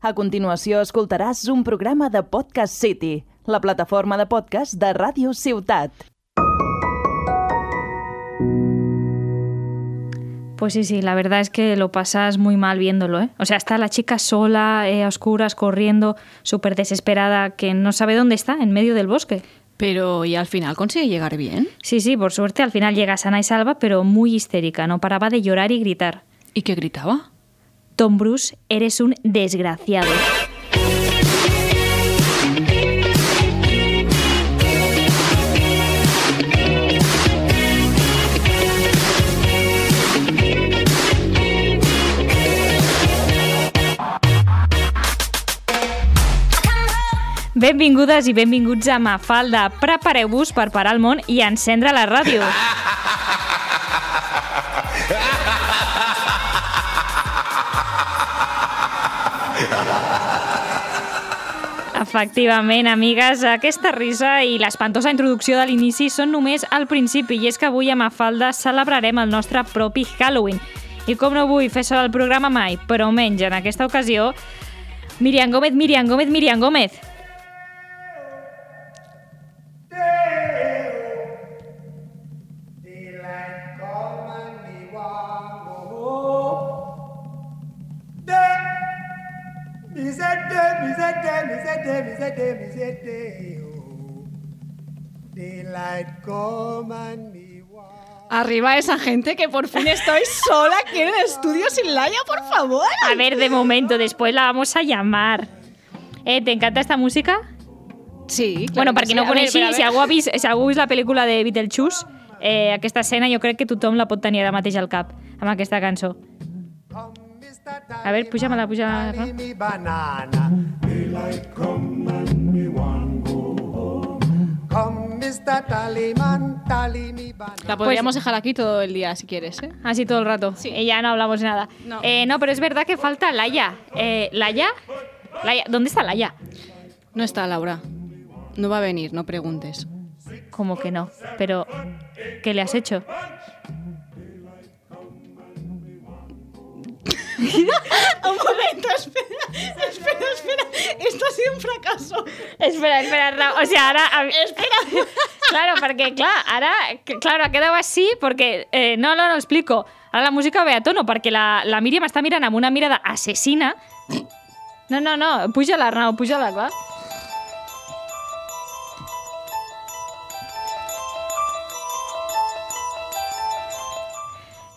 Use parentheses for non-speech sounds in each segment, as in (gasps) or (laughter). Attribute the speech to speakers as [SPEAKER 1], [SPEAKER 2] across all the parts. [SPEAKER 1] A continuació escoltaràs un programa de Podcast City, la plataforma de podcast de Ràdio Ciutat.
[SPEAKER 2] Pues sí, sí, la verdad es que lo pasas muy mal viéndolo, ¿eh? O sea, está la chica sola, eh, a oscuras, corriendo, súper desesperada, que no sabe dónde está, en medio del bosque.
[SPEAKER 3] Pero ¿y al final consigue llegar bien?
[SPEAKER 2] Sí, sí, por suerte al final llega sana y salva, pero muy histérica, no paraba de llorar y gritar.
[SPEAKER 3] ¿Y qué gritaba?
[SPEAKER 2] Tom Bruce, eres un desgraciado. Benvingudes i benvinguts a Mafalda. Prepareu-vos per parar el món i encendre la ràdio. Efectivament, amigues, aquesta risa i l'espantosa introducció de l'inici són només al principi i és que avui a Mafalda celebrarem el nostre propi Halloween. I com no vull fer sol el programa mai, però menys en aquesta ocasió, Miriam Gómez, Miriam Gómez, Miriam Gómez.
[SPEAKER 3] Arriba esa gente que por fin estoy sola aquí en el estudio sin Laia, por favor.
[SPEAKER 2] A ver, de momento, después la vamos a llamar. Eh, ¿Te encanta esta música?
[SPEAKER 3] Sí, claro
[SPEAKER 2] bueno, per qui
[SPEAKER 3] que sí.
[SPEAKER 2] no
[SPEAKER 3] A ver,
[SPEAKER 2] coneixi,
[SPEAKER 3] pero a
[SPEAKER 2] si
[SPEAKER 3] ver.
[SPEAKER 2] algú, ha vist, si algú ha vist la pel·lícula de Beetlejuice, eh, aquesta escena jo crec que tothom la pot tenir ara mateix al cap, amb aquesta cançó.
[SPEAKER 4] A ver, pújamela, pújamela.
[SPEAKER 2] Dale
[SPEAKER 3] La podríamos dejar aquí todo el día si quieres, ¿eh?
[SPEAKER 2] Así todo el rato. Eh, ya no hablamos nada.
[SPEAKER 3] No.
[SPEAKER 2] Eh, no, pero es verdad que falta Laia. Eh, ¿Laia? Laia- ¿Dónde está Laia?
[SPEAKER 3] No está Laura. No va a venir, no preguntes.
[SPEAKER 2] Como que no, pero ¿qué le has hecho?
[SPEAKER 3] Un momento, espera, espera, espera. Esto ha sido un fracaso.
[SPEAKER 2] Espera, espera, Ra- o sea, ahora... Espera. (laughs) claro, perquè, clar, ara... que- Claro, ha quedat així perquè... Eh, no, no, no, explico. Ara la música ve a tono perquè la, la Míriam està mirant amb una mirada assassina. No, no, no, puja-la, Arnau, puja-la, clar.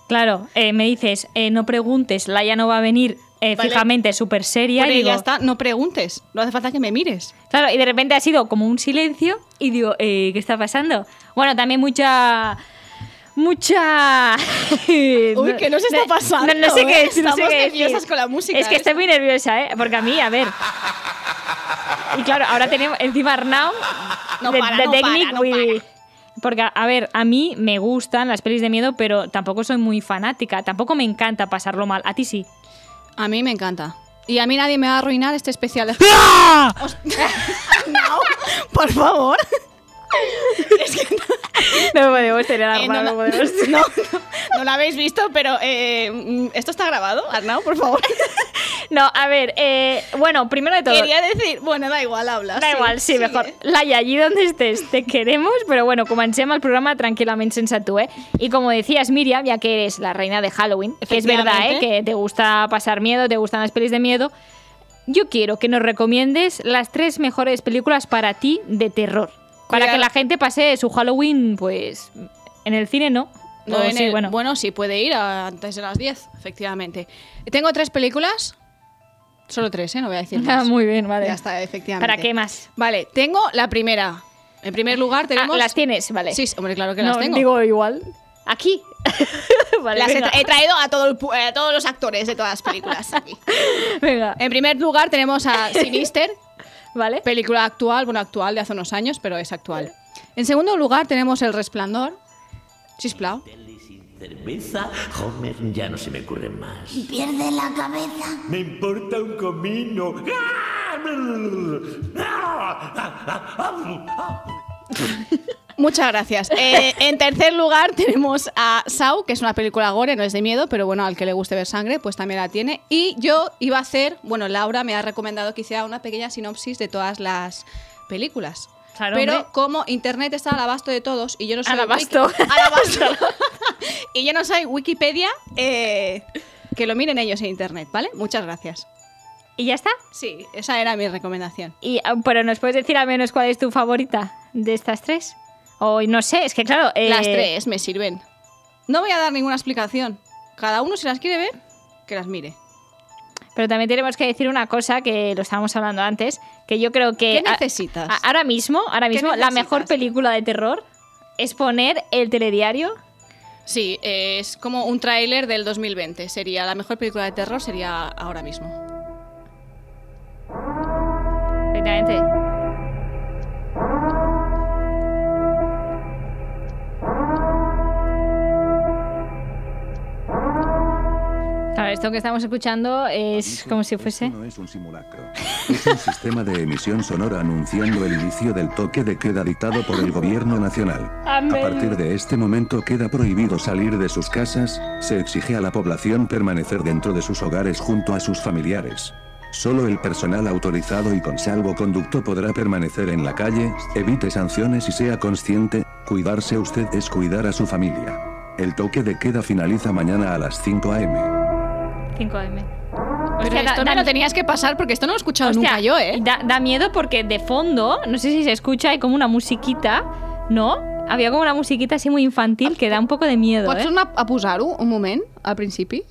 [SPEAKER 2] Claro, eh, me dices, eh, no preguntes, Laia no va a venir eh,
[SPEAKER 3] Vale.
[SPEAKER 2] fijamente, súper seria.
[SPEAKER 3] Pero
[SPEAKER 2] y digo,
[SPEAKER 3] ya está, no preguntes. No hace falta que me mires.
[SPEAKER 2] Claro, y de repente ha sido como un silencio y digo, eh, ¿qué está pasando? Bueno, también mucha... Mucha... (laughs) Uy,
[SPEAKER 3] que no se está pasando,
[SPEAKER 2] No, no sé qué
[SPEAKER 3] ¿eh?
[SPEAKER 2] decir, no sé
[SPEAKER 3] Estamos
[SPEAKER 2] qué decir.
[SPEAKER 3] nerviosas con la música,
[SPEAKER 2] Es que
[SPEAKER 3] ¿eh?
[SPEAKER 2] estoy muy nerviosa, ¿eh? Porque a mí, a ver... Y claro, ahora tenemos encima Arnau...
[SPEAKER 3] No para, no para, no
[SPEAKER 2] Porque, a ver, a mí me gustan las pelis de miedo, pero tampoco soy muy fanática. Tampoco me encanta pasarlo mal. A ti
[SPEAKER 3] (laughs)
[SPEAKER 2] sí.
[SPEAKER 3] A mí me encanta. Y a mí nadie me va a arruinar este especial. de- no, por favor.
[SPEAKER 2] No podemos tener
[SPEAKER 3] Eh, no, la- (laughs) no, no, no lo habéis visto, pero eh, mm, esto está grabado, Arnau, por favor.
[SPEAKER 2] (laughs) No, a ver, eh, bueno, primero de (laughs) todo.
[SPEAKER 3] Quería decir, bueno, da igual, habla.
[SPEAKER 2] Da igual, sí,
[SPEAKER 3] sigue.
[SPEAKER 2] mejor. Laia, allí donde estés, te queremos, pero bueno, comencemos el programa tranquilamente sense tu, ¿eh? Y como decías, Miriam, ya que eres la reina de Halloween, que es verdad, ¿eh?
[SPEAKER 3] Efectivamente.
[SPEAKER 2] Que te gusta pasar miedo, te gustan las pelis de miedo. Yo quiero que nos recomiendes las tres mejores películas para ti de terror. Para
[SPEAKER 3] Cuidado.
[SPEAKER 2] que la gente pase su Halloween, pues. En el cine, ¿no?
[SPEAKER 3] No,
[SPEAKER 2] O
[SPEAKER 3] en
[SPEAKER 2] sí,
[SPEAKER 3] el-
[SPEAKER 2] bueno.
[SPEAKER 3] bueno.
[SPEAKER 2] (laughs)
[SPEAKER 3] sí, puede ir a- antes de las 10, efectivamente. Tengo tres películas. Solo tres, ¿eh? No voy a decir
[SPEAKER 2] (laughs) Ah,
[SPEAKER 3] más.
[SPEAKER 2] muy bien, vale.
[SPEAKER 3] Ya está, efectivamente.
[SPEAKER 2] ¿Para qué más?
[SPEAKER 3] Vale, tengo la primera. En primer lugar
[SPEAKER 2] Ah,
[SPEAKER 3] tenemos...
[SPEAKER 2] las tienes, vale.
[SPEAKER 3] Sí, sí, hombre, claro que
[SPEAKER 2] no,
[SPEAKER 3] las tengo.
[SPEAKER 2] digo igual. Aquí. (laughs) Vale,
[SPEAKER 3] las he,
[SPEAKER 2] venga.
[SPEAKER 3] tra- he traído a, todo el pu- eh, a todos los actores de todas las
[SPEAKER 2] (laughs)
[SPEAKER 3] películas aquí.
[SPEAKER 2] Venga,
[SPEAKER 3] En primer lugar tenemos a Sinister,
[SPEAKER 2] vale.
[SPEAKER 3] película actual, bueno, actual de hace unos años, pero es actual. En segundo lugar tenemos El Resplandor, Chisplau.
[SPEAKER 5] Deli sin cerveza, Homer, ya no se me ocurre más.
[SPEAKER 6] Pierde la cabeza.
[SPEAKER 5] Me importa un comino. ¡Ah! ¡Ah! ¡Ah! ¡Ah!
[SPEAKER 3] Muchas gracias. Eh, en tercer lugar tenemos a Sau, que es una película gore, no es de miedo, pero bueno, al que le guste ver sangre, pues también la tiene. Y yo iba a hacer, bueno, Laura me ha recomendado que hiciera una pequeña sinopsis de todas las películas.
[SPEAKER 2] Claro,
[SPEAKER 3] pero
[SPEAKER 2] hombre.
[SPEAKER 3] como internet está al abasto de todos y yo no soy
[SPEAKER 2] Al abasto.
[SPEAKER 3] Wiki- (laughs) al
[SPEAKER 2] (laughs)
[SPEAKER 3] abasto. (laughs) y yo no soy Wikipedia, eh, que lo miren ellos en internet, ¿vale? Muchas gracias.
[SPEAKER 2] ¿Y ya está?
[SPEAKER 3] Sí, esa era mi recomendación.
[SPEAKER 2] Y, ah, pero nos puedes decir al menos cuál es tu favorita de estas tres. O no sé, es que claro. eh,
[SPEAKER 3] Las tres me sirven. No voy a dar ninguna explicación. Cada uno si las quiere ver, que las mire.
[SPEAKER 2] Pero también tenemos que decir una cosa que lo estábamos hablando antes, que yo creo que
[SPEAKER 3] ¿Qué
[SPEAKER 2] a-
[SPEAKER 3] necesitas?
[SPEAKER 2] a- ahora mismo, ahora
[SPEAKER 3] ¿Qué
[SPEAKER 2] mismo la
[SPEAKER 3] necesitas?
[SPEAKER 2] mejor película de terror es poner el telediario.
[SPEAKER 3] Sí, eh, es como un tráiler del 2020. Sería la mejor película de terror, sería ahora mismo.
[SPEAKER 2] Perfectamente. Claro, esto que estamos escuchando es como si fuese.
[SPEAKER 7] Esto no es un simulacro. Es un sistema de emisión sonora anunciando el inicio del toque de queda dictado por el gobierno nacional. A
[SPEAKER 2] Amén.
[SPEAKER 7] partir de este momento queda prohibido salir de sus casas, se exige a la población permanecer dentro de sus hogares junto a sus familiares. Solo el personal autorizado y con salvoconducto podrá permanecer en la calle, evite sanciones y sea consciente, cuidarse usted es cuidar a su familia. El toque de queda finaliza mañana a las 5 a.m.
[SPEAKER 2] 5M.
[SPEAKER 3] Pero esto me lo tenías que pasar porque esto no lo he escuchado nunca yo, ¿eh?
[SPEAKER 2] Da, da miedo porque de fondo, no sé si se escucha, hay como una musiquita, ¿no? Había como una musiquita así muy infantil que da un poco de miedo,
[SPEAKER 3] Pots
[SPEAKER 2] ¿eh?
[SPEAKER 3] anar a posar-ho un moment, al principi?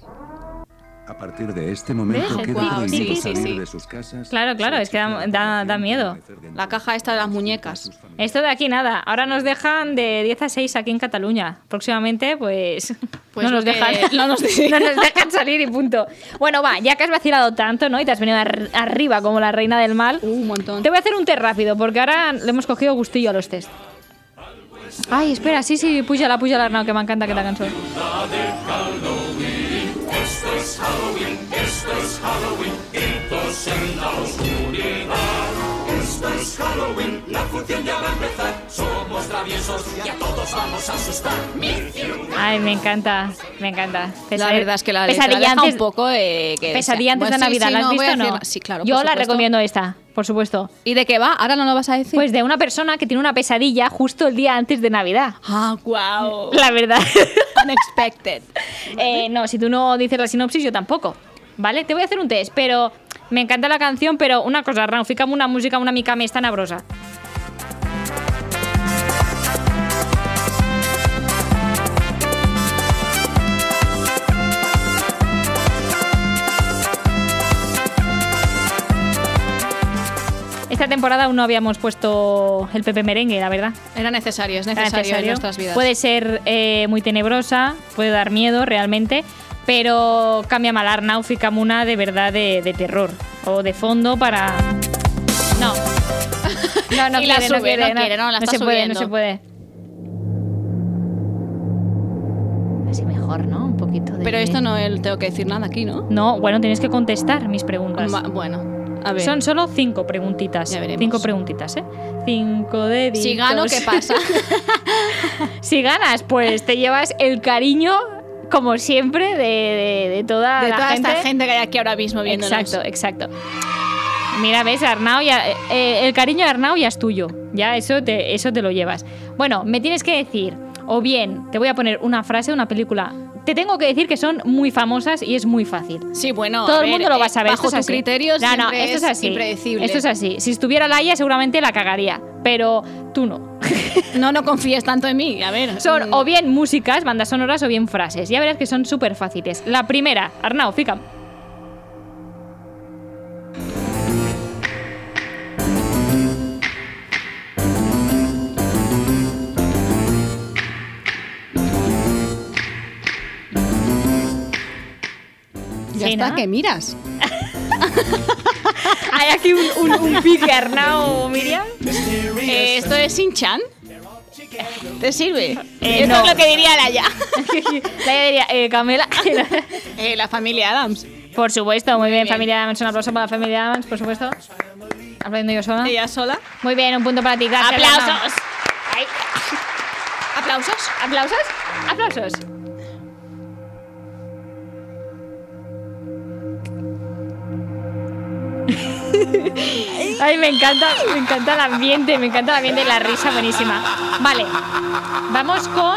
[SPEAKER 7] A partir de este momento
[SPEAKER 2] ¿Ves?
[SPEAKER 7] queda
[SPEAKER 3] Wow,
[SPEAKER 7] prohibido
[SPEAKER 3] sí, sí,
[SPEAKER 7] salir
[SPEAKER 3] sí.
[SPEAKER 7] de sus casas.
[SPEAKER 2] Claro, claro, es que da- da- da miedo.
[SPEAKER 3] La caja esta de las muñecas.
[SPEAKER 2] Esto de aquí nada, ahora nos dejan de 10 a 6 aquí en Cataluña. Próximamente, pues,
[SPEAKER 3] (laughs) Pues
[SPEAKER 2] no, nos
[SPEAKER 3] lo que- (laughs)
[SPEAKER 2] dejan,
[SPEAKER 3] no nos de-
[SPEAKER 2] (laughs) no nos dejan salir y punto. Bueno, va, ya que has vacilado tanto, ¿no? Y te has venido ar- arriba como la reina del mal.
[SPEAKER 3] Uh, un montón.
[SPEAKER 2] Te voy a hacer un test rápido, porque ahora le hemos cogido gustillo a los test. Ay, espera, sí, sí, puja-la, puja-la, Arnau, que me encanta que la canción. Ay, me encanta, me encanta.
[SPEAKER 3] La
[SPEAKER 2] Pesade-
[SPEAKER 3] verdad es que la letra
[SPEAKER 2] pesadilla
[SPEAKER 3] deja
[SPEAKER 2] antes-
[SPEAKER 3] un poco de... Que
[SPEAKER 2] Pesadilla antes
[SPEAKER 3] Bueno,
[SPEAKER 2] de
[SPEAKER 3] sí,
[SPEAKER 2] Navidad,
[SPEAKER 3] sí,
[SPEAKER 2] ¿la has
[SPEAKER 3] no, voy
[SPEAKER 2] visto
[SPEAKER 3] a
[SPEAKER 2] o no?
[SPEAKER 3] decir- Sí, claro,
[SPEAKER 2] Yo
[SPEAKER 3] por
[SPEAKER 2] la
[SPEAKER 3] supuesto.
[SPEAKER 2] recomiendo esta, por supuesto.
[SPEAKER 3] ¿Y de qué va? ¿Ahora no lo vas a decir?
[SPEAKER 2] Pues de una persona que tiene una pesadilla justo el día antes de Navidad.
[SPEAKER 3] Ah, wow.
[SPEAKER 2] La verdad.
[SPEAKER 3] Unexpected.
[SPEAKER 2] (laughs) Eh, no, si tú no dices la sinopsis, yo tampoco. ¿Vale? Te voy a hacer un test, pero me encanta la canción, pero una cosa, Arnau, fica'm una música una mica més tenebrosa. Esta temporada aún no habíamos puesto el Pepe Merengue, la verdad.
[SPEAKER 3] Era necesario, es
[SPEAKER 2] Era
[SPEAKER 3] necesario, en
[SPEAKER 2] necesario.
[SPEAKER 3] nuestras vidas.
[SPEAKER 2] Puede ser eh, muy tenebrosa, puede dar miedo realmente, pero cambia malar náufica una de verdad de, de terror o de fondo para. No. No, no
[SPEAKER 3] Y
[SPEAKER 2] quiere,
[SPEAKER 3] la
[SPEAKER 2] no
[SPEAKER 3] sube,
[SPEAKER 2] quiere,
[SPEAKER 3] (laughs) no quiere, no, la está
[SPEAKER 2] se puede, no
[SPEAKER 3] subiendo.
[SPEAKER 2] se puede. Así mejor, ¿no? Un poquito de.
[SPEAKER 3] Pero esto no el- tengo que decir nada aquí, ¿no?
[SPEAKER 2] No, bueno, tienes que contestar mis preguntas.
[SPEAKER 3] Ma- bueno, a ver.
[SPEAKER 2] Pues Son solo cinco preguntitas.
[SPEAKER 3] Ya veremos.
[SPEAKER 2] Cinco preguntitas, ¿eh? Cinco de
[SPEAKER 3] si gano, ¿qué
[SPEAKER 2] (laughs)
[SPEAKER 3] pasa?
[SPEAKER 2] Si ganas, pues te llevas el cariño, como siempre, de, de- de toda
[SPEAKER 3] de
[SPEAKER 2] la
[SPEAKER 3] toda
[SPEAKER 2] gente.
[SPEAKER 3] esta gente que hay aquí ahora mismo viéndonos.
[SPEAKER 2] Exacto, exacto. Mira, ves, Arnau, ya, eh, el cariño de Arnau ya es tuyo. Ya eso te, eso te lo llevas. Bueno, me tienes que decir, o bien te voy a poner una frase de una película. Te tengo que decir que son muy famosas y es muy fácil.
[SPEAKER 3] Sí, bueno, a
[SPEAKER 2] Todo el
[SPEAKER 3] ver,
[SPEAKER 2] mundo lo
[SPEAKER 3] eh,
[SPEAKER 2] va a saber.
[SPEAKER 3] Bajo
[SPEAKER 2] esto es
[SPEAKER 3] tu
[SPEAKER 2] así.
[SPEAKER 3] criterio
[SPEAKER 2] no, no,
[SPEAKER 3] siempre
[SPEAKER 2] esto es, así.
[SPEAKER 3] impredecible.
[SPEAKER 2] Esto es así. Si estuviera Laia, seguramente la cagaría. Pero tú no.
[SPEAKER 3] No, no confíes tanto en mí. A ver.
[SPEAKER 2] Son
[SPEAKER 3] mm,
[SPEAKER 2] o bien músicas, bandas sonoras o bien frases. Ya verás que son súper fáciles. La primera, Arnau, fica.
[SPEAKER 3] Ya
[SPEAKER 2] Sí,
[SPEAKER 3] está,
[SPEAKER 2] ¿no?
[SPEAKER 3] que miras.
[SPEAKER 2] Hay aquí un, un, un pique, Arnau, Miriam.
[SPEAKER 3] Eh, ¿Esto es Sinchan? ¿Te sirve?
[SPEAKER 2] Eh,
[SPEAKER 3] Esto
[SPEAKER 2] no.
[SPEAKER 3] es lo que diría (laughs) Laia.
[SPEAKER 2] (laughs) La diría, eh, Camela.
[SPEAKER 3] Eh, la familia Adams.
[SPEAKER 2] Por supuesto, muy bien,
[SPEAKER 3] bien.
[SPEAKER 2] familia Adams. Un aplauso para la familia Adams, por supuesto. Hablando yo sola.
[SPEAKER 3] Ella sola.
[SPEAKER 2] Muy bien, un punto para ti. Gracias,
[SPEAKER 3] ¡Aplausos!
[SPEAKER 2] Arnau. Ay.
[SPEAKER 3] ¿Aplausos?
[SPEAKER 2] ¿Aplausos? ¡Aplausos! Ay, me encanta, me encanta el ambiente, me encanta el ambiente y la risa buenísima. Vale, vamos con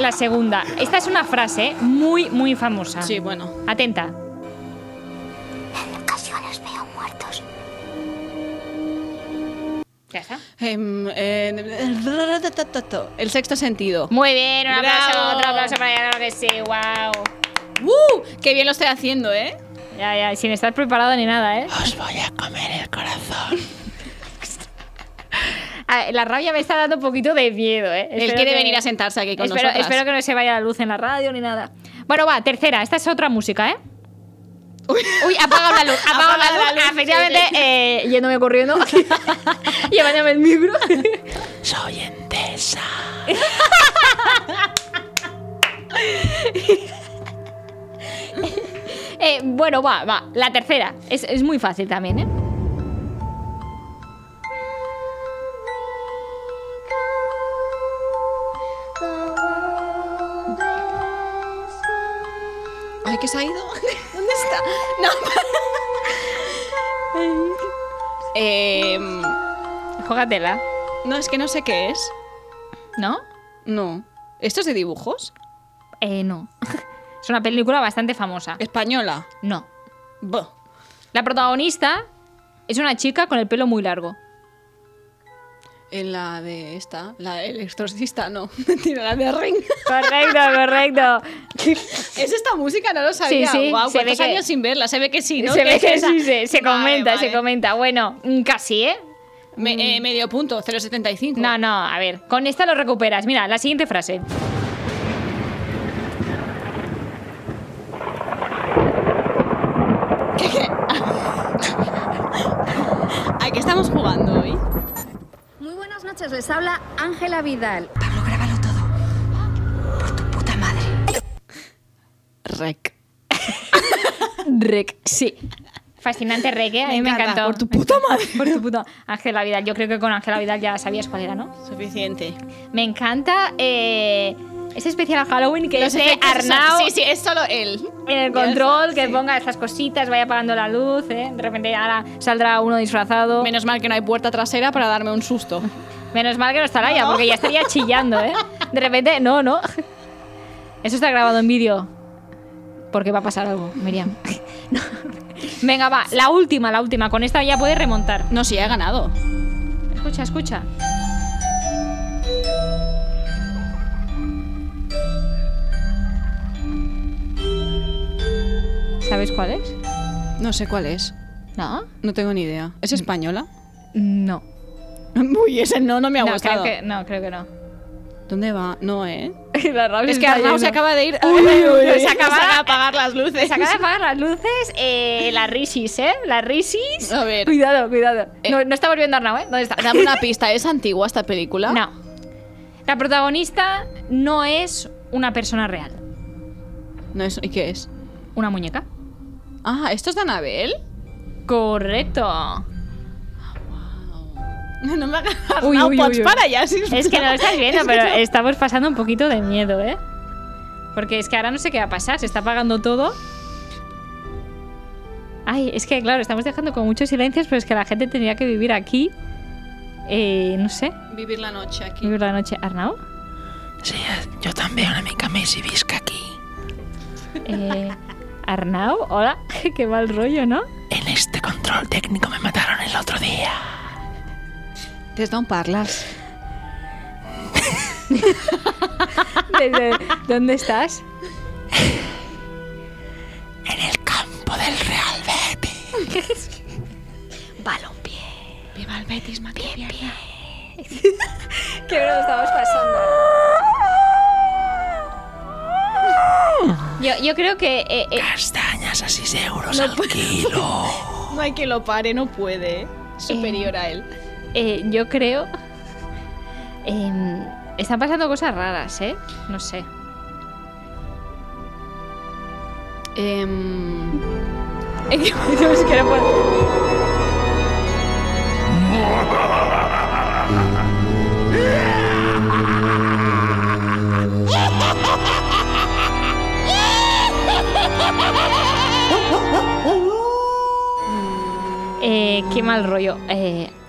[SPEAKER 2] la segunda. Esta es una frase muy, muy famosa.
[SPEAKER 3] Sí, bueno.
[SPEAKER 2] Atenta.
[SPEAKER 6] En ocasiones veo muertos.
[SPEAKER 2] Ya está.
[SPEAKER 3] Em, eh, el sexto sentido.
[SPEAKER 2] Muy bien, un aplauso,
[SPEAKER 3] Bravo.
[SPEAKER 2] otro aplauso para ella, claro que sí, wow. Mm.
[SPEAKER 3] ¡Uh! ¡Qué bien lo estoy haciendo, eh!
[SPEAKER 2] Ya, ya, sin estar preparado ni nada, ¿eh?
[SPEAKER 3] Os voy a comer
[SPEAKER 2] (laughs)
[SPEAKER 3] el corazón.
[SPEAKER 2] A ver, Ah, La rabia me está dando un poquito de miedo, ¿eh?
[SPEAKER 3] Él
[SPEAKER 2] Espero
[SPEAKER 3] quiere
[SPEAKER 2] que-
[SPEAKER 3] venir a sentarse aquí con
[SPEAKER 2] espero,
[SPEAKER 3] nosotras.
[SPEAKER 2] espero que no se vaya la luz en la radio ni nada. Bueno, va, tercera. Esta es otra música, ¿eh? Uy, apaga la luz, apaga la luz. Efectivamente, eh, yéndome (laughs) corriendo, llevándome el micro.
[SPEAKER 3] Soy entesa.
[SPEAKER 2] (laughs) Eh, bueno, va, va. La tercera. Es, es muy fácil también, ¿eh?
[SPEAKER 3] Ay, que se ha ido. (laughs) ¿Dónde está? No.
[SPEAKER 2] (laughs)
[SPEAKER 3] Em,
[SPEAKER 2] Jógatela,
[SPEAKER 3] no, es que no sé qué es.
[SPEAKER 2] ¿no?
[SPEAKER 3] No. ¿Esto es de dibujos?
[SPEAKER 2] Eh, no. (laughs) Es una película bastante famosa.
[SPEAKER 3] Española.
[SPEAKER 2] No.
[SPEAKER 3] Buh.
[SPEAKER 2] La protagonista es una chica con el pelo muy largo.
[SPEAKER 3] En la de esta, la del exorcista, no. (laughs) Mentira, la de
[SPEAKER 2] (laughs)
[SPEAKER 3] Ring.
[SPEAKER 2] Correcto, correcto.
[SPEAKER 3] ¿Es esta música? No lo sabía.
[SPEAKER 2] sí,
[SPEAKER 3] Guau,
[SPEAKER 2] se ve
[SPEAKER 3] ¿cuántos
[SPEAKER 2] que-
[SPEAKER 3] años sin verla? Se ve que sí, ¿no?
[SPEAKER 2] Se ve
[SPEAKER 3] es
[SPEAKER 2] que
[SPEAKER 3] esa.
[SPEAKER 2] sí, se, se
[SPEAKER 3] Vale,
[SPEAKER 2] comenta, se
[SPEAKER 3] vale.
[SPEAKER 2] comenta. Bueno, mm, casi, ¿eh?
[SPEAKER 3] Me- eh, medio punto, 0,75.
[SPEAKER 2] No, no, a ver, con esta lo recuperas. Mira, la siguiente frase.
[SPEAKER 3] ¿A qué estamos jugando hoy?
[SPEAKER 8] Muy buenas noches, les habla Ángela Vidal.
[SPEAKER 6] Pablo, grábalo todo. Por tu puta madre.
[SPEAKER 3] (laughs) Rec.
[SPEAKER 2] Rec, sí. Fascinante Rec, ¿eh? A
[SPEAKER 3] Me
[SPEAKER 2] mí me,
[SPEAKER 3] encanta,
[SPEAKER 2] encantó.
[SPEAKER 3] por tu puta madre.
[SPEAKER 2] (laughs) Por tu puta. Ángela Vidal, yo creo que con Ángela Vidal ya sabías cuál era, ¿no?
[SPEAKER 3] Suficiente.
[SPEAKER 2] Me encanta eh, ese especial Halloween que
[SPEAKER 3] Los
[SPEAKER 2] es de
[SPEAKER 3] efectos son-
[SPEAKER 2] Arnau
[SPEAKER 3] Sí, sí, es solo él.
[SPEAKER 2] en el
[SPEAKER 3] Ya
[SPEAKER 2] control,
[SPEAKER 3] está,
[SPEAKER 2] que
[SPEAKER 3] sí.
[SPEAKER 2] ponga estas cositas, vaya apagando la luz, ¿eh? De repente ahora saldrá uno disfrazado.
[SPEAKER 3] Menos mal que no hay puerta trasera para darme un susto.
[SPEAKER 2] Menos mal que no está Laia, porque ya estaría chillando, ¿eh? De repente, no, no. Eso está grabado en vídeo. Porque va a pasar algo, Miriam. (laughs) No. Venga, va, la última, la última. Con esta ya puedes remontar.
[SPEAKER 3] No, sí, he ganado.
[SPEAKER 2] Escucha, escucha. ¿Sabes cuál es?
[SPEAKER 3] No sé cuál es.
[SPEAKER 2] No.
[SPEAKER 3] No tengo ni idea.
[SPEAKER 2] Mm.
[SPEAKER 3] ¿Es española? (laughs)
[SPEAKER 2] No.
[SPEAKER 3] Uy, ese no, no me ha
[SPEAKER 2] No creo,
[SPEAKER 3] gustado.
[SPEAKER 2] que, no, creo (laughs) que no.
[SPEAKER 3] ¿Dónde va? No, ¿eh?
[SPEAKER 2] La rabia
[SPEAKER 3] Es que
[SPEAKER 2] está
[SPEAKER 3] Arnau se
[SPEAKER 2] yendo.
[SPEAKER 3] acaba de ir.
[SPEAKER 2] Uy, uy, (laughs) uy.
[SPEAKER 3] (laughs) se acaba de apagar las
[SPEAKER 2] (laughs)
[SPEAKER 3] luces.
[SPEAKER 2] Se
[SPEAKER 3] (laughs)
[SPEAKER 2] acaba de apagar las luces, eh, las risis, ¿eh? Las risis.
[SPEAKER 3] A ver.
[SPEAKER 2] Cuidado, cuidado.
[SPEAKER 3] Eh.
[SPEAKER 2] No, no está volviendo Arnau, ¿eh? ¿Dónde está?
[SPEAKER 3] Dame una pista. ¿Es antigua esta película?
[SPEAKER 2] No. La protagonista no es una persona real,
[SPEAKER 3] No es- ¿Y qué es?
[SPEAKER 2] una muñeca.
[SPEAKER 3] Ah, ¿esto es de Anabel? (laughs)
[SPEAKER 2] (laughs) Correcto.
[SPEAKER 3] No me hagas.
[SPEAKER 2] Uy,
[SPEAKER 3] Arnau,
[SPEAKER 2] uy, uy,
[SPEAKER 3] pots
[SPEAKER 2] uy.
[SPEAKER 3] para ya. sí,
[SPEAKER 2] Es que no lo estás viendo,
[SPEAKER 3] es que
[SPEAKER 2] pero
[SPEAKER 3] no.
[SPEAKER 2] estamos pasando un poquito de miedo, ¿eh? Porque es que ahora no sé qué va a pasar, se está apagando todo. Ay, es que claro, estamos dejando con muchos silencios, pero es que la gente tendría que vivir aquí. Eh, no sé,
[SPEAKER 3] Vivir la noche aquí.
[SPEAKER 2] vivir la noche. ¿Arnau? Sí, yo también, a mi cama y aquí. Eh, Arnau, hola, (laughs) qué mal rollo, ¿no?
[SPEAKER 3] Des d'on parles?
[SPEAKER 2] Desde- ¿Dónde estás?
[SPEAKER 3] Viva el Betis, Maquia.
[SPEAKER 2] Qué bueno estamos pasando. Yo, yo creo que. eh, eh,
[SPEAKER 3] No hay que lo pare, no puede. Superior a él.
[SPEAKER 2] eh, yo creo. em, están pasando cosas raras, ¿eh? No sé.
[SPEAKER 3] Em,
[SPEAKER 2] Dios, que no puedo. Eh, qué mal rollo. Eh, (laughs)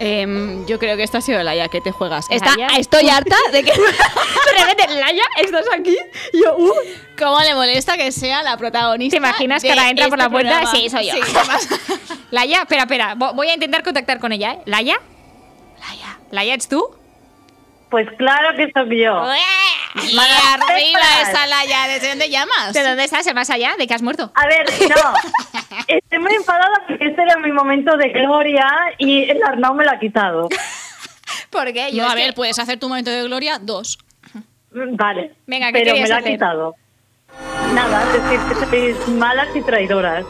[SPEAKER 3] Em, yo creo que esto ha sido la ya que te juegas.
[SPEAKER 2] ¿La
[SPEAKER 3] Está,
[SPEAKER 2] ya?
[SPEAKER 3] estoy harta de (laughs) que.
[SPEAKER 2] de repente, Laia, estás aquí. Y yo, uh,
[SPEAKER 3] ¿Cómo le molesta que sea la protagonista?
[SPEAKER 2] ¿Te imaginas que
[SPEAKER 3] de
[SPEAKER 2] ahora entra por la
[SPEAKER 3] este
[SPEAKER 2] puerta?
[SPEAKER 3] programa?
[SPEAKER 2] Sí, soy yo.
[SPEAKER 3] (laughs) Sí, ¿qué pasa?
[SPEAKER 2] Laia, espera, espera. vo- Voy a intentar contactar con ella, ¿eh? ¿Laia? Laia. ¿Laia, ets tu?
[SPEAKER 9] Pues claro que soy yo.
[SPEAKER 3] Y arriba esa Laia, ¿desde dónde llamas?
[SPEAKER 2] Eh, ¿De dónde estás? ¿El más allá? ¿De que has muerto?
[SPEAKER 9] A ver, no. Estoy muy enfadada porque este era mi momento de gloria y el Arnau me lo ha quitado.
[SPEAKER 2] ¿Por qué? Yo
[SPEAKER 3] No,
[SPEAKER 2] es
[SPEAKER 3] a
[SPEAKER 2] que-
[SPEAKER 3] ver, puedes hacer tu momento de gloria dos.
[SPEAKER 9] Mm, Vale.
[SPEAKER 2] Venga, ¿qué
[SPEAKER 9] Pero me
[SPEAKER 2] querías
[SPEAKER 9] lo ha
[SPEAKER 2] hacer?
[SPEAKER 9] quitado. Nada, decir que sois malas y
[SPEAKER 2] (gasps)
[SPEAKER 9] traidoras.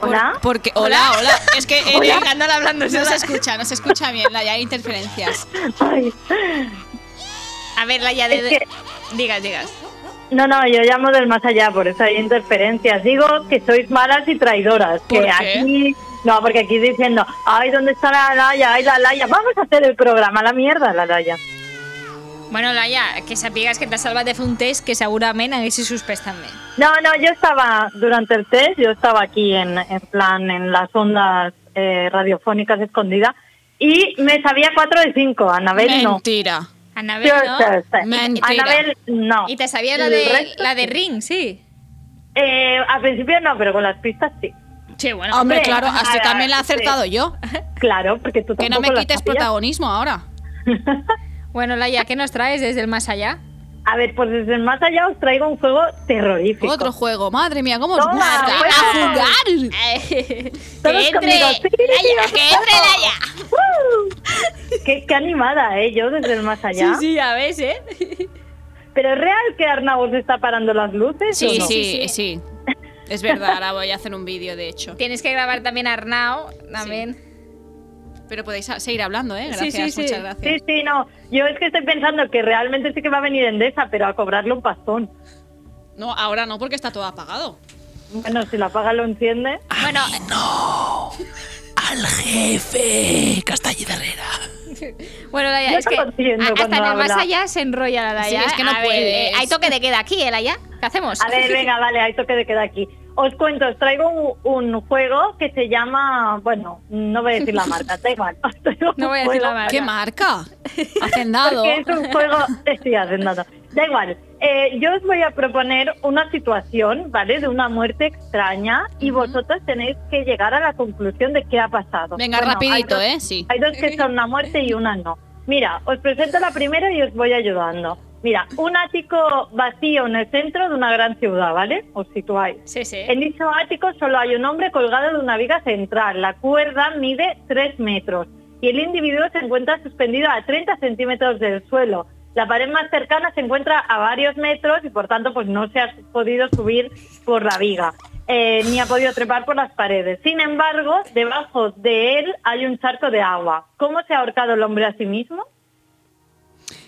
[SPEAKER 9] Hola.
[SPEAKER 3] Porque, hola, hola. Es que eh, en el-
[SPEAKER 2] andar hablando
[SPEAKER 3] no se escucha, no se escucha bien, Laia, hay interferencias.
[SPEAKER 9] Ay,
[SPEAKER 2] A ver, Laia, de...
[SPEAKER 9] Es que-
[SPEAKER 2] Digas, digas.
[SPEAKER 9] No, no, yo llamo del más allá, por eso hay interferencias. Digo que sois malas y traidoras.
[SPEAKER 3] ¿Por
[SPEAKER 9] que
[SPEAKER 3] qué?
[SPEAKER 9] aquí. No, porque aquí diciendo, ay, ¿dónde está la Laya? Ay, la Laya. Vamos a hacer el programa, la mierda, la Laya.
[SPEAKER 2] Bueno, Laia, que sapigues que t'has salvat de fer un test que segurament haguessis suspès també.
[SPEAKER 9] No, no, yo estaba, durante el test, yo estaba aquí en, en plan, en las ondas eh, radiofónicas escondida y me sabía 4 de 5. Anabel no.
[SPEAKER 3] Mentira.
[SPEAKER 2] Anabel,
[SPEAKER 9] Yo,
[SPEAKER 2] no?
[SPEAKER 9] sé, sé.
[SPEAKER 3] Mentira.
[SPEAKER 9] Anabel
[SPEAKER 3] Ah.
[SPEAKER 9] no.
[SPEAKER 2] I te sabia la
[SPEAKER 9] El
[SPEAKER 2] de,
[SPEAKER 9] resto,
[SPEAKER 2] la de
[SPEAKER 9] sí.
[SPEAKER 2] Ring, sí.
[SPEAKER 9] Eh, al principio no, pero con las pistas
[SPEAKER 3] (laughs)
[SPEAKER 9] sí.
[SPEAKER 2] Sí, bueno.
[SPEAKER 3] Hombre,
[SPEAKER 9] Hombre,
[SPEAKER 3] claro, así
[SPEAKER 9] ahora,
[SPEAKER 3] también la he acertado yo.
[SPEAKER 9] Claro, porque tú
[SPEAKER 3] Que no
[SPEAKER 9] tampoco
[SPEAKER 3] me
[SPEAKER 9] las
[SPEAKER 3] quites
[SPEAKER 9] sabías.
[SPEAKER 3] protagonismo ahora.
[SPEAKER 2] Bueno, Laia, ¿qué nos traes desde el más
[SPEAKER 3] (laughs)
[SPEAKER 2] allá?
[SPEAKER 9] A ver, pues desde el más allá os traigo un juego terrorífico. (laughs)
[SPEAKER 3] Otro juego, madre mía, ¿cómo os
[SPEAKER 9] Toma,
[SPEAKER 3] gusta
[SPEAKER 9] juega.
[SPEAKER 3] a jugar?
[SPEAKER 9] Todos conmigo. Sí, sí,
[SPEAKER 2] que
[SPEAKER 9] (laughs)
[SPEAKER 2] entre Laia.
[SPEAKER 9] ¡Uh! qué, qué animada, ¿eh? Yo desde el más allá.
[SPEAKER 2] Sí, sí, a veces, ¿eh?
[SPEAKER 9] Pero es real que Arnau os está parando las luces. o
[SPEAKER 3] Sí,
[SPEAKER 9] no?
[SPEAKER 3] sí, sí. Es verdad, ahora voy a hacer un vídeo, de hecho.
[SPEAKER 2] Tienes que grabar también a Arnau, también.
[SPEAKER 3] Pero podéis a- seguir hablando, ¿eh?
[SPEAKER 2] Sí,
[SPEAKER 3] Gracias,
[SPEAKER 2] sí, sí.
[SPEAKER 3] muchas gracias.
[SPEAKER 9] Sí, sí, no. Yo es que estoy pensando que realmente sí que va a venir Endesa, pero a cobrarle un pastón.
[SPEAKER 3] No, ahora no, porque está todo apagado.
[SPEAKER 9] Bueno, si la paga lo enciende.
[SPEAKER 2] Bueno,
[SPEAKER 5] Al jefe Castañeda Herrera.
[SPEAKER 2] bueno, Laia,
[SPEAKER 9] Yo
[SPEAKER 2] es que
[SPEAKER 9] no lo entiendo
[SPEAKER 2] a- hasta
[SPEAKER 9] cuando
[SPEAKER 2] en el más
[SPEAKER 9] habla.
[SPEAKER 2] allá se enrolla la Laia.
[SPEAKER 3] Sí, es que no
[SPEAKER 2] A ver,
[SPEAKER 3] puedes.
[SPEAKER 2] eh, hay toque de queda aquí, ¿eh, Laia? ¿Qué hacemos?
[SPEAKER 9] A ver, venga, vale, hay toque de queda aquí. Os cuento, os traigo un, un juego que se llama... Bueno, no voy a
[SPEAKER 2] (laughs)
[SPEAKER 9] decir la marca, da igual. (laughs) Os traigo
[SPEAKER 2] No
[SPEAKER 9] un
[SPEAKER 2] voy a decir la
[SPEAKER 9] juego
[SPEAKER 2] marca. (laughs)
[SPEAKER 3] ¿Qué marca? Hacendado.
[SPEAKER 9] Porque es un juego... eh, Sí, hacen nada. Da igual. Eh, yo os voy a proponer una situación, ¿vale? De una muerte extraña y vosotros tenéis que llegar a la conclusión de qué ha pasado.
[SPEAKER 3] Venga,
[SPEAKER 9] Bueno, hay
[SPEAKER 3] rapidito,
[SPEAKER 9] dos-
[SPEAKER 3] ¿eh? Sí.
[SPEAKER 9] Hay dos que son una muerte y una no. Mira, os presento la primera y os voy ayudando. Mira, un ático vacío en el centro de una gran ciudad, ¿vale? Os situáis.
[SPEAKER 2] Sí, sí.
[SPEAKER 9] En dicho ático solo hay un hombre colgado de una viga central. La cuerda mide 3 metros y el individuo se encuentra suspendido a 30 centímetros del suelo. La pared más cercana se encuentra a varios metros y por tanto pues no se ha podido subir por la viga. eh, ni ha podido trepar por las paredes. Sin embargo, debajo de él hay un charco de agua. ¿Cómo se ha ahorcado el hombre a sí mismo?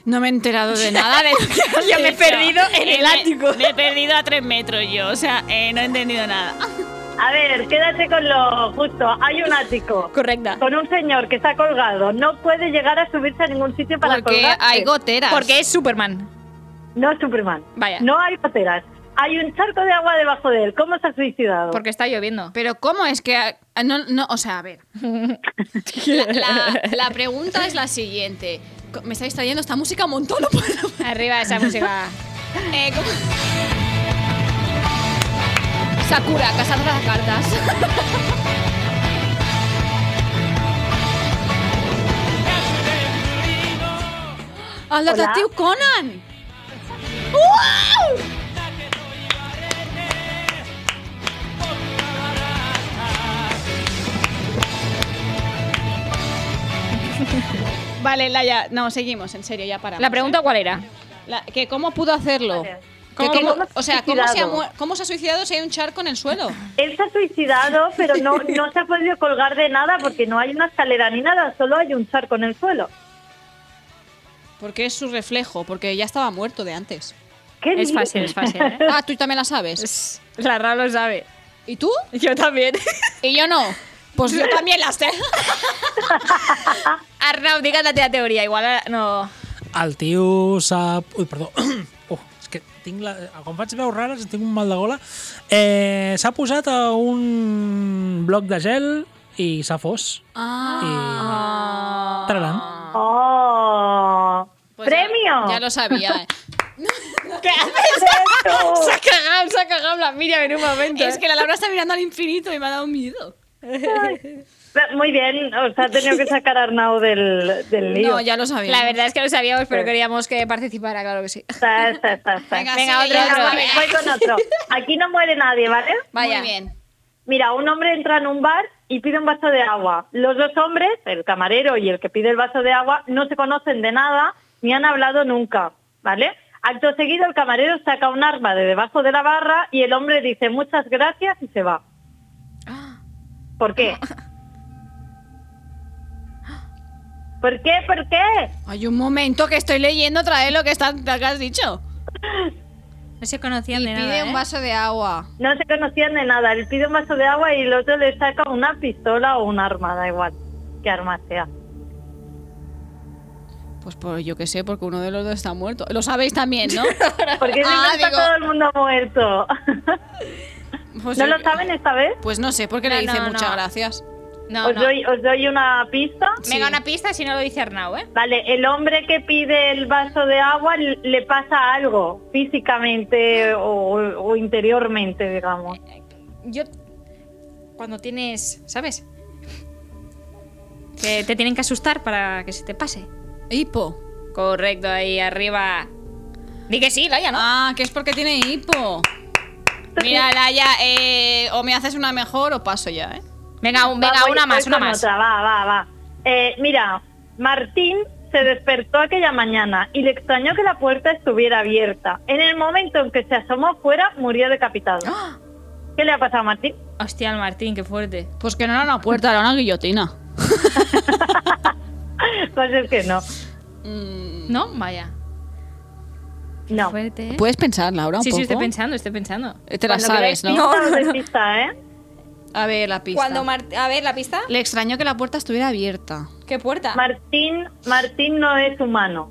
[SPEAKER 3] No me he enterado de nada de
[SPEAKER 2] (laughs)
[SPEAKER 3] lo que has
[SPEAKER 2] Yo me he
[SPEAKER 3] dicho. Eh,
[SPEAKER 2] perdido en el
[SPEAKER 3] Me-
[SPEAKER 2] ático.
[SPEAKER 3] Me he perdido a tres metros yo, o sea, eh, no he entendido nada.
[SPEAKER 9] A ver, quédate con lo justo. Hay un ático.
[SPEAKER 2] Correcta.
[SPEAKER 9] con un señor que está colgado no puede llegar a subirse a ningún sitio para
[SPEAKER 3] Porque
[SPEAKER 9] colgarse.
[SPEAKER 3] hay goteras.
[SPEAKER 2] Porque es Superman.
[SPEAKER 9] No es Superman.
[SPEAKER 2] Vaya.
[SPEAKER 9] No hay goteras. Hay un charco de agua debajo de él. ¿Cómo se ha suicidado?
[SPEAKER 2] Porque está lloviendo.
[SPEAKER 3] Pero ¿cómo es que...? ha- ah, No, no, o sea,
[SPEAKER 2] (laughs)
[SPEAKER 3] a ver. La, la- la pregunta es la siguiente. Co- Me estáis trayendo esta música un montón, no puedo.
[SPEAKER 2] Arriba (laughs) esa música.
[SPEAKER 3] Eh, ¿cómo? Sakura, casando las cartas. ¡Al detective Conan!
[SPEAKER 2] (laughs)
[SPEAKER 3] Vale, Laia, no, seguimos, en serio, ya para. ¿eh?
[SPEAKER 2] La pregunta, ¿cuál era?
[SPEAKER 3] La- que cómo pudo hacerlo.
[SPEAKER 9] Vale.
[SPEAKER 3] Que
[SPEAKER 9] ¿Cómo-
[SPEAKER 3] cómo-
[SPEAKER 9] cómo se ha
[SPEAKER 3] o sea, ¿cómo se, ha
[SPEAKER 9] suicidado?
[SPEAKER 3] mu- ¿cómo se ha suicidado si hay un charco en el suelo?
[SPEAKER 9] Él se ha suicidado, pero no, no se ha podido colgar de nada porque no hay una escalera ni nada, solo hay un charco en el suelo.
[SPEAKER 3] Porque es su reflejo, porque ya estaba muerto de antes.
[SPEAKER 9] ¿Qué
[SPEAKER 2] Es
[SPEAKER 9] dices?
[SPEAKER 2] fácil, es fácil. ¿eh?
[SPEAKER 3] Ah, tú también la sabes.
[SPEAKER 2] Es- La Ra lo sabe.
[SPEAKER 3] ¿Y tú?
[SPEAKER 2] Yo también.
[SPEAKER 3] Y yo no. Pues yo también la sé.
[SPEAKER 2] Arnau, dígate la teoría. Igual ah, no.
[SPEAKER 10] (clears throat) El tio sap... Ui, perdó. Oh, és que tinc la, quan faig veus rares tinc un mal de gola, eh, s'ha posat a un bloc de gel i s'ha fos. Ah. I... Tararam.
[SPEAKER 9] ¡Oh! ¡Premio!
[SPEAKER 3] Pues Ya lo sabía. eh.
[SPEAKER 2] ¿Qué haces? se ha cagado, se ha cagado la Miriam en un momento. eh.
[SPEAKER 3] es que la Laura está mirando al infinito y me ha dado miedo.
[SPEAKER 9] Muy bien, os ha tenido que sacar Arnau del, del lío.
[SPEAKER 3] No, ya lo sabía.
[SPEAKER 2] La verdad es que lo sabíamos, pero queríamos que participara, claro que sí.
[SPEAKER 9] Está, está, está, está.
[SPEAKER 3] Venga,
[SPEAKER 2] Venga, otro,
[SPEAKER 3] sigue, ya,
[SPEAKER 2] otro.
[SPEAKER 3] va,
[SPEAKER 9] Vale,
[SPEAKER 3] venga.
[SPEAKER 9] voy con otro. Aquí no muere nadie, ¿vale?
[SPEAKER 2] Vaya.
[SPEAKER 3] Muy bien.
[SPEAKER 9] Mira, un hombre entra en un bar y pide un vaso de agua. Los dos hombres, el camarero y el que pide el vaso de agua, no se conocen de nada ni han hablado nunca, ¿vale? Acto seguido, el camarero saca un arma de debajo de la barra y el hombre dice muchas gracias y se va. ¿Por qué? ¿Por qué? ¿Por qué?
[SPEAKER 3] Hay un momento que estoy leyendo otra vez lo que, está, lo que has dicho.
[SPEAKER 2] No se conocían
[SPEAKER 3] Y
[SPEAKER 2] de nada.
[SPEAKER 3] pide
[SPEAKER 2] ¿eh?
[SPEAKER 3] un vaso de agua.
[SPEAKER 9] No se conocían de nada. Él pide un vaso de agua y el otro le saca una pistola o un arma, da igual qué arma sea.
[SPEAKER 3] Pues por, yo qué sé, porque uno de los dos está muerto. Lo sabéis también, (laughs) ¿no?
[SPEAKER 9] Porque si
[SPEAKER 3] Ah,
[SPEAKER 9] no está
[SPEAKER 3] digo-
[SPEAKER 9] todo el mundo muerto.
[SPEAKER 3] Pues,
[SPEAKER 9] ¿No lo
[SPEAKER 3] eh,
[SPEAKER 9] saben esta vez?
[SPEAKER 3] Pues no sé, porque
[SPEAKER 2] No,
[SPEAKER 3] le dice
[SPEAKER 2] no,
[SPEAKER 3] muchas
[SPEAKER 2] no.
[SPEAKER 3] gracias.
[SPEAKER 2] No,
[SPEAKER 9] Os
[SPEAKER 2] no.
[SPEAKER 9] doy, os doy una pista.
[SPEAKER 2] Venga, una pista si no lo dice Arnau, ¿eh?
[SPEAKER 9] Vale, el hombre que pide el vaso de agua l- le pasa algo físicamente o, o interiormente, digamos.
[SPEAKER 2] Yo. Cuando tienes. ¿Sabes? Que te tienen que asustar para que se te pase.
[SPEAKER 3] Hipo.
[SPEAKER 2] Correcto, ahí arriba. Di que sí, Laia, ¿no?
[SPEAKER 3] Ah, que es porque tiene hipo. Mira, Laia, eh, o me haces una mejor o paso ya, ¿eh?
[SPEAKER 2] Venga, un-
[SPEAKER 9] Va,
[SPEAKER 2] venga
[SPEAKER 9] voy-
[SPEAKER 2] una
[SPEAKER 9] voy
[SPEAKER 2] más, una
[SPEAKER 9] con
[SPEAKER 2] más.
[SPEAKER 9] otra, va, va, va. Eh, mira, Martín se despertó aquella mañana y le extrañó que la puerta estuviera abierta. En el momento en que se asomó fuera, murió decapitado.
[SPEAKER 2] ¡Ah!
[SPEAKER 9] ¿Qué le ha pasado a Martín? (laughs)
[SPEAKER 2] Hostia, el Martín, qué fuerte.
[SPEAKER 3] Pues que no era una puerta, era una guillotina.
[SPEAKER 9] Pues es que no.
[SPEAKER 2] ¿No? Vaya.
[SPEAKER 9] No.
[SPEAKER 2] Fuerte, ¿eh?
[SPEAKER 3] Puedes pensar, Laura, un
[SPEAKER 2] sí,
[SPEAKER 3] poco.
[SPEAKER 2] sí, estoy pensando, estoy pensando.
[SPEAKER 3] Eh, Te la
[SPEAKER 9] Cuando
[SPEAKER 3] sabes,
[SPEAKER 2] Oh,
[SPEAKER 9] queráis
[SPEAKER 3] ¿no?
[SPEAKER 9] pista, os doy pista, ¿eh?
[SPEAKER 3] A ver, la pista.
[SPEAKER 2] A ver, la pista.
[SPEAKER 3] Le extrañó que la puerta estuviera abierta.
[SPEAKER 2] ¿Qué puerta?
[SPEAKER 9] Martín, Martín no es humano.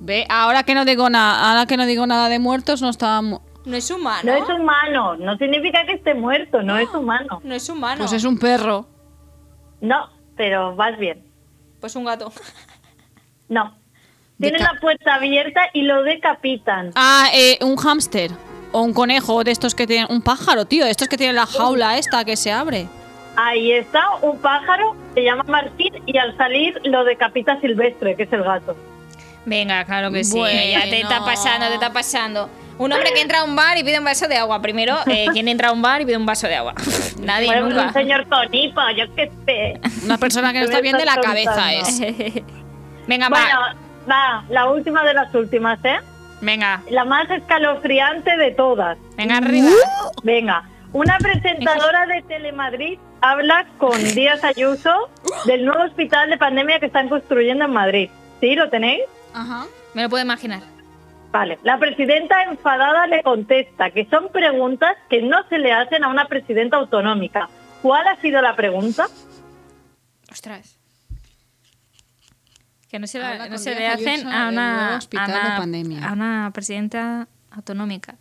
[SPEAKER 3] Ve, ahora que no digo nada, ahora que no digo nada de muertos, no está. mu-
[SPEAKER 2] no es humano.
[SPEAKER 9] No es humano, no significa que esté muerto, no
[SPEAKER 2] ¡Ah!
[SPEAKER 9] es humano.
[SPEAKER 2] No es humano.
[SPEAKER 3] Pues es un perro.
[SPEAKER 9] No, pero vas bien.
[SPEAKER 2] Pues un gato.
[SPEAKER 9] No. Tienen
[SPEAKER 3] Deca-
[SPEAKER 9] la puerta abierta y lo decapitan.
[SPEAKER 3] Ah, eh, un hámster. O un conejo de estos que tienen. Un pájaro, tío. de Estos que tienen la jaula esta que se abre.
[SPEAKER 9] Ahí está un pájaro, se llama Martín y al salir lo decapita Silvestre, que es el gato.
[SPEAKER 2] Venga, claro que sí. eh,
[SPEAKER 3] Bueno.
[SPEAKER 2] Ya te está pasando, te está pasando. Un hombre que entra a un bar y pide un vaso de agua. Primero, eh,
[SPEAKER 9] (laughs)
[SPEAKER 2] ¿quién entra a un bar y pide un vaso de agua? (laughs) Nadie
[SPEAKER 9] Bueno, un
[SPEAKER 2] nunca.
[SPEAKER 9] señor Tonipo, yo qué sé.
[SPEAKER 3] Una persona que no
[SPEAKER 9] ¿Qué me
[SPEAKER 3] está bien de la
[SPEAKER 9] estás
[SPEAKER 3] cabeza
[SPEAKER 9] contando?
[SPEAKER 3] es.
[SPEAKER 2] Venga,
[SPEAKER 9] Bueno,
[SPEAKER 2] va.
[SPEAKER 9] va, la última de las últimas, ¿eh?
[SPEAKER 2] Venga,
[SPEAKER 9] La más escalofriante de todas.
[SPEAKER 2] venga arriba.
[SPEAKER 9] Venga, una presentadora de Telemadrid habla con Díaz Ayuso del nuevo hospital de pandemia que están construyendo en Madrid. ¿Sí? ¿Lo tenéis?
[SPEAKER 3] Ajá.
[SPEAKER 2] Me lo puedo imaginar.
[SPEAKER 9] Vale. La presidenta enfadada le contesta que son preguntas que no se le hacen a una presidenta autonómica. ¿Cuál ha sido la pregunta?
[SPEAKER 2] Ostras. Que no se,
[SPEAKER 3] Habla
[SPEAKER 2] la, no
[SPEAKER 3] con
[SPEAKER 2] se le
[SPEAKER 3] Díaz
[SPEAKER 2] hacen
[SPEAKER 3] Ayuso
[SPEAKER 2] a
[SPEAKER 3] del nuevo
[SPEAKER 2] una, a,
[SPEAKER 3] hospital de
[SPEAKER 2] una,
[SPEAKER 3] pandemia.
[SPEAKER 2] a una presidenta autonómica.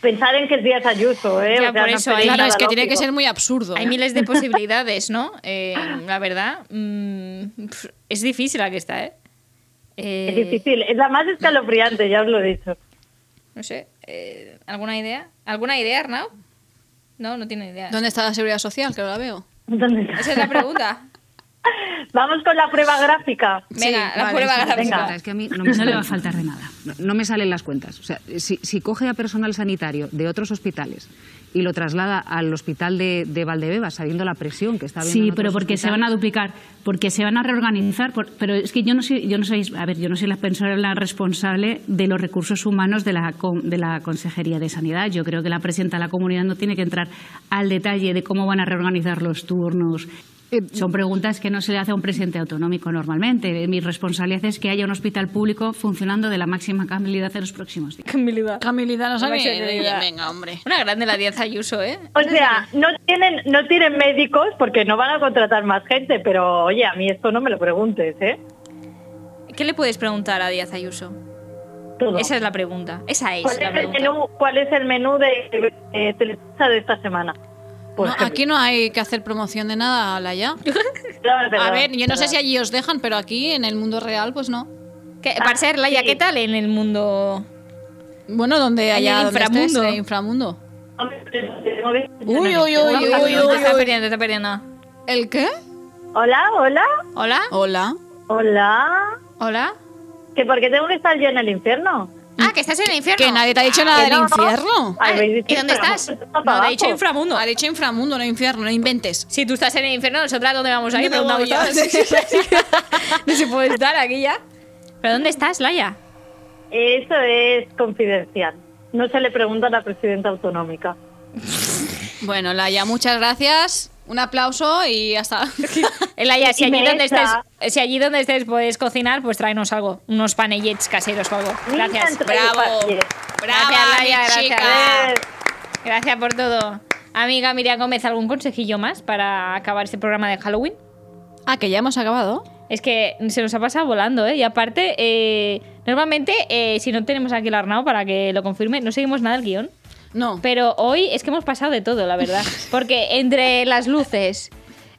[SPEAKER 9] Pensar en que es Díaz Ayuso, ¿eh?
[SPEAKER 2] Ya, por
[SPEAKER 9] no
[SPEAKER 2] eso,
[SPEAKER 9] sería
[SPEAKER 2] ahí-
[SPEAKER 3] Claro,
[SPEAKER 9] nada
[SPEAKER 3] es que tiene que
[SPEAKER 9] lógico.
[SPEAKER 3] ser muy absurdo.
[SPEAKER 2] Hay
[SPEAKER 3] ¿eh?
[SPEAKER 2] miles
[SPEAKER 9] (laughs)
[SPEAKER 2] de posibilidades, ¿no? Eh, la verdad, mm, pf, es difícil la que está, ¿eh? Eh,
[SPEAKER 9] Es difícil, es la más escalofriante, ya os lo he dicho.
[SPEAKER 2] No sé, eh, ¿alguna idea? ¿Alguna idea, Arnau? No, no tiene idea.
[SPEAKER 3] ¿Dónde está la seguridad social? Que no la veo.
[SPEAKER 9] ¿Dónde está?
[SPEAKER 2] Esa es la pregunta.
[SPEAKER 9] Vamos con la prueba gráfica.
[SPEAKER 2] Venga,
[SPEAKER 3] Sí,
[SPEAKER 2] la
[SPEAKER 3] vale,
[SPEAKER 2] prueba
[SPEAKER 3] sí,
[SPEAKER 2] gráfica.
[SPEAKER 9] venga.
[SPEAKER 11] Es que a mí no me sale- no le va a faltar de nada. No, no me salen las cuentas. O sea, si, si coge a personal sanitario de otros hospitales y lo traslada al hospital de, de Valdebebas, sabiendo la presión que está habiendo. Sí, pero porque se van a duplicar, porque se van a reorganizar. pero es que yo no soy, yo no soy, a ver, yo no soy la persona responsable de los recursos humanos de la, de la Consejería de Sanidad. Yo creo que la presidenta de la comunidad no tiene que entrar al detalle de cómo van a reorganizar los turnos. Son preguntas que no se le hace a un presidente autonómico normalmente. Mi responsabilidad es que haya un hospital público funcionando de la máxima calidad en los próximos días.
[SPEAKER 3] Camilita no
[SPEAKER 2] sabe
[SPEAKER 3] sabe.
[SPEAKER 2] ni- ni-
[SPEAKER 3] Venga, hombre.
[SPEAKER 2] Una grande la Díaz Ayuso, ¿eh?
[SPEAKER 9] O sea, no tienen, no tienen médicos porque no van a contratar más gente, pero oye, a mí esto no me lo preguntes, ¿eh?
[SPEAKER 2] ¿Qué le puedes preguntar a Díaz Ayuso?
[SPEAKER 9] Todo.
[SPEAKER 2] Esa es la pregunta. Esa es
[SPEAKER 9] ¿Cuál
[SPEAKER 2] la
[SPEAKER 9] Pues es el
[SPEAKER 2] pregunta.
[SPEAKER 9] menú, cuál es el menú de eh, Televisa de esta semana? Pues Por
[SPEAKER 3] No,
[SPEAKER 9] ejemplo.
[SPEAKER 3] aquí no hay que hacer promoción de nada, Laia.
[SPEAKER 9] verdad,
[SPEAKER 3] A ver, yo no sé
[SPEAKER 9] verdad.
[SPEAKER 3] si allí os dejan, pero aquí en el mundo real, pues no.
[SPEAKER 2] ¿Qué, para ser Laia, ¿qué tal en el mundo?
[SPEAKER 3] Bueno, donde
[SPEAKER 2] En
[SPEAKER 3] haya
[SPEAKER 2] el
[SPEAKER 3] donde estés,
[SPEAKER 2] inframundo.
[SPEAKER 3] en el inframundo.
[SPEAKER 2] Uy,
[SPEAKER 3] uy, uy, uy, uy,
[SPEAKER 2] Está
[SPEAKER 3] uy.
[SPEAKER 2] perdiendo, está perdiendo.
[SPEAKER 3] ¿El qué?
[SPEAKER 9] Hola, hola,
[SPEAKER 2] ¿Hola?
[SPEAKER 3] Hola.
[SPEAKER 9] hola.
[SPEAKER 2] ¿Hola?
[SPEAKER 9] ¿Que por qué tengo que estar yo en el infierno?
[SPEAKER 2] Ah, que estás en el infierno. Ah,
[SPEAKER 3] Que nadie te ha dicho nada
[SPEAKER 9] que
[SPEAKER 3] del
[SPEAKER 9] no.
[SPEAKER 3] infierno.
[SPEAKER 9] Ay, me dice,
[SPEAKER 2] ¿Y dónde
[SPEAKER 9] pero
[SPEAKER 2] estás?
[SPEAKER 9] vamos,
[SPEAKER 2] No,
[SPEAKER 9] para
[SPEAKER 2] te ha
[SPEAKER 9] abajo.
[SPEAKER 2] dicho inframundo.
[SPEAKER 3] Ha dicho inframundo, no infierno, no inventes.
[SPEAKER 2] Si tú estás en el infierno, nosotras dónde vamos a ir,
[SPEAKER 3] ¿Dónde
[SPEAKER 2] preguntamos
[SPEAKER 3] voy yo?
[SPEAKER 2] todas.
[SPEAKER 3] (laughs)
[SPEAKER 2] No se puede estar aquí ya. ¿Pero dónde estás, Laia?
[SPEAKER 9] Eso es confidencial. No se le pregunta a la presidenta autonómica.
[SPEAKER 3] Bueno, Laia, muchas gracias. Un aplauso y hasta.
[SPEAKER 2] Eh, Laia, si
[SPEAKER 9] Y
[SPEAKER 2] allí,
[SPEAKER 9] me
[SPEAKER 2] donde estés,
[SPEAKER 9] echa.
[SPEAKER 2] eh, si allí donde estés puedes cocinar, pues tráenos algo. Unos panellets caseros o algo.
[SPEAKER 9] Mira,
[SPEAKER 2] Gracias.
[SPEAKER 9] entre ellos,
[SPEAKER 3] Bravo.
[SPEAKER 9] bien.
[SPEAKER 3] Brava,
[SPEAKER 2] Gracias, Laia,
[SPEAKER 3] mi
[SPEAKER 2] gracias.
[SPEAKER 3] chica.
[SPEAKER 2] Gracias por todo. Amiga Miriam Gómez, ¿algún consejillo más para acabar este programa de Halloween?
[SPEAKER 3] (laughs) Ah, que ya hemos acabado.
[SPEAKER 2] Es que se nos ha pasado volando, ¿eh? Y aparte, eh, normalmente, eh, si no tenemos aquí el Arnau para que lo confirme, no seguimos nada el guión.
[SPEAKER 3] No.
[SPEAKER 2] Pero hoy es que hemos pasado de todo, la
[SPEAKER 3] (laughs)
[SPEAKER 2] verdad. Porque entre las luces,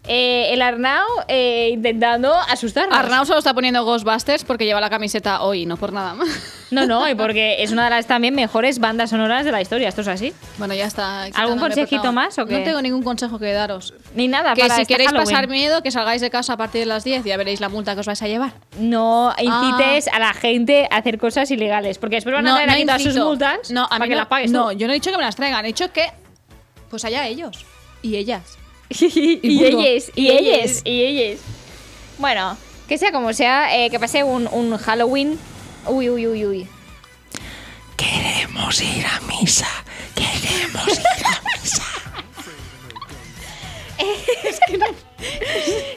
[SPEAKER 2] eh, el Arnau eh, intentando asustarnos.
[SPEAKER 3] Arnau solo está poniendo Ghostbusters porque lleva la camiseta hoy, no por nada más. (laughs)
[SPEAKER 2] No, no, y porque es una de las también mejores bandas sonoras de la historia, esto es así.
[SPEAKER 3] Bueno, ya está.
[SPEAKER 2] ¿Algún
[SPEAKER 3] quitándome,
[SPEAKER 2] consejito
[SPEAKER 3] por favor.
[SPEAKER 2] más o qué?
[SPEAKER 3] No tengo ningún consejo que daros.
[SPEAKER 2] Ni nada,
[SPEAKER 3] Que
[SPEAKER 2] para
[SPEAKER 3] si
[SPEAKER 2] este
[SPEAKER 3] queréis
[SPEAKER 2] Halloween.
[SPEAKER 3] pasar miedo, que salgáis de casa a partir de las 10 y ya veréis la multa que os vais a llevar.
[SPEAKER 2] No
[SPEAKER 3] Ah.
[SPEAKER 2] incites a la gente a hacer cosas ilegales, porque después van a traer aquí todas sus
[SPEAKER 3] incito.
[SPEAKER 2] multas
[SPEAKER 3] No, a
[SPEAKER 2] para
[SPEAKER 3] mí
[SPEAKER 2] que
[SPEAKER 3] no,
[SPEAKER 2] las pagues
[SPEAKER 3] no,
[SPEAKER 2] tú.
[SPEAKER 3] yo no he dicho que me las traigan, he dicho que pues allá ellos y ellas.
[SPEAKER 2] (laughs) y,
[SPEAKER 3] punto.
[SPEAKER 2] ellas, y
[SPEAKER 3] Y ellas.
[SPEAKER 2] ellas, y ellas. Bueno, que sea como sea, eh, que pase un, un Halloween. Uy, uy, uy, uy.
[SPEAKER 10] Queremos ir a misa. Queremos ir a
[SPEAKER 2] (laughs)
[SPEAKER 10] misa.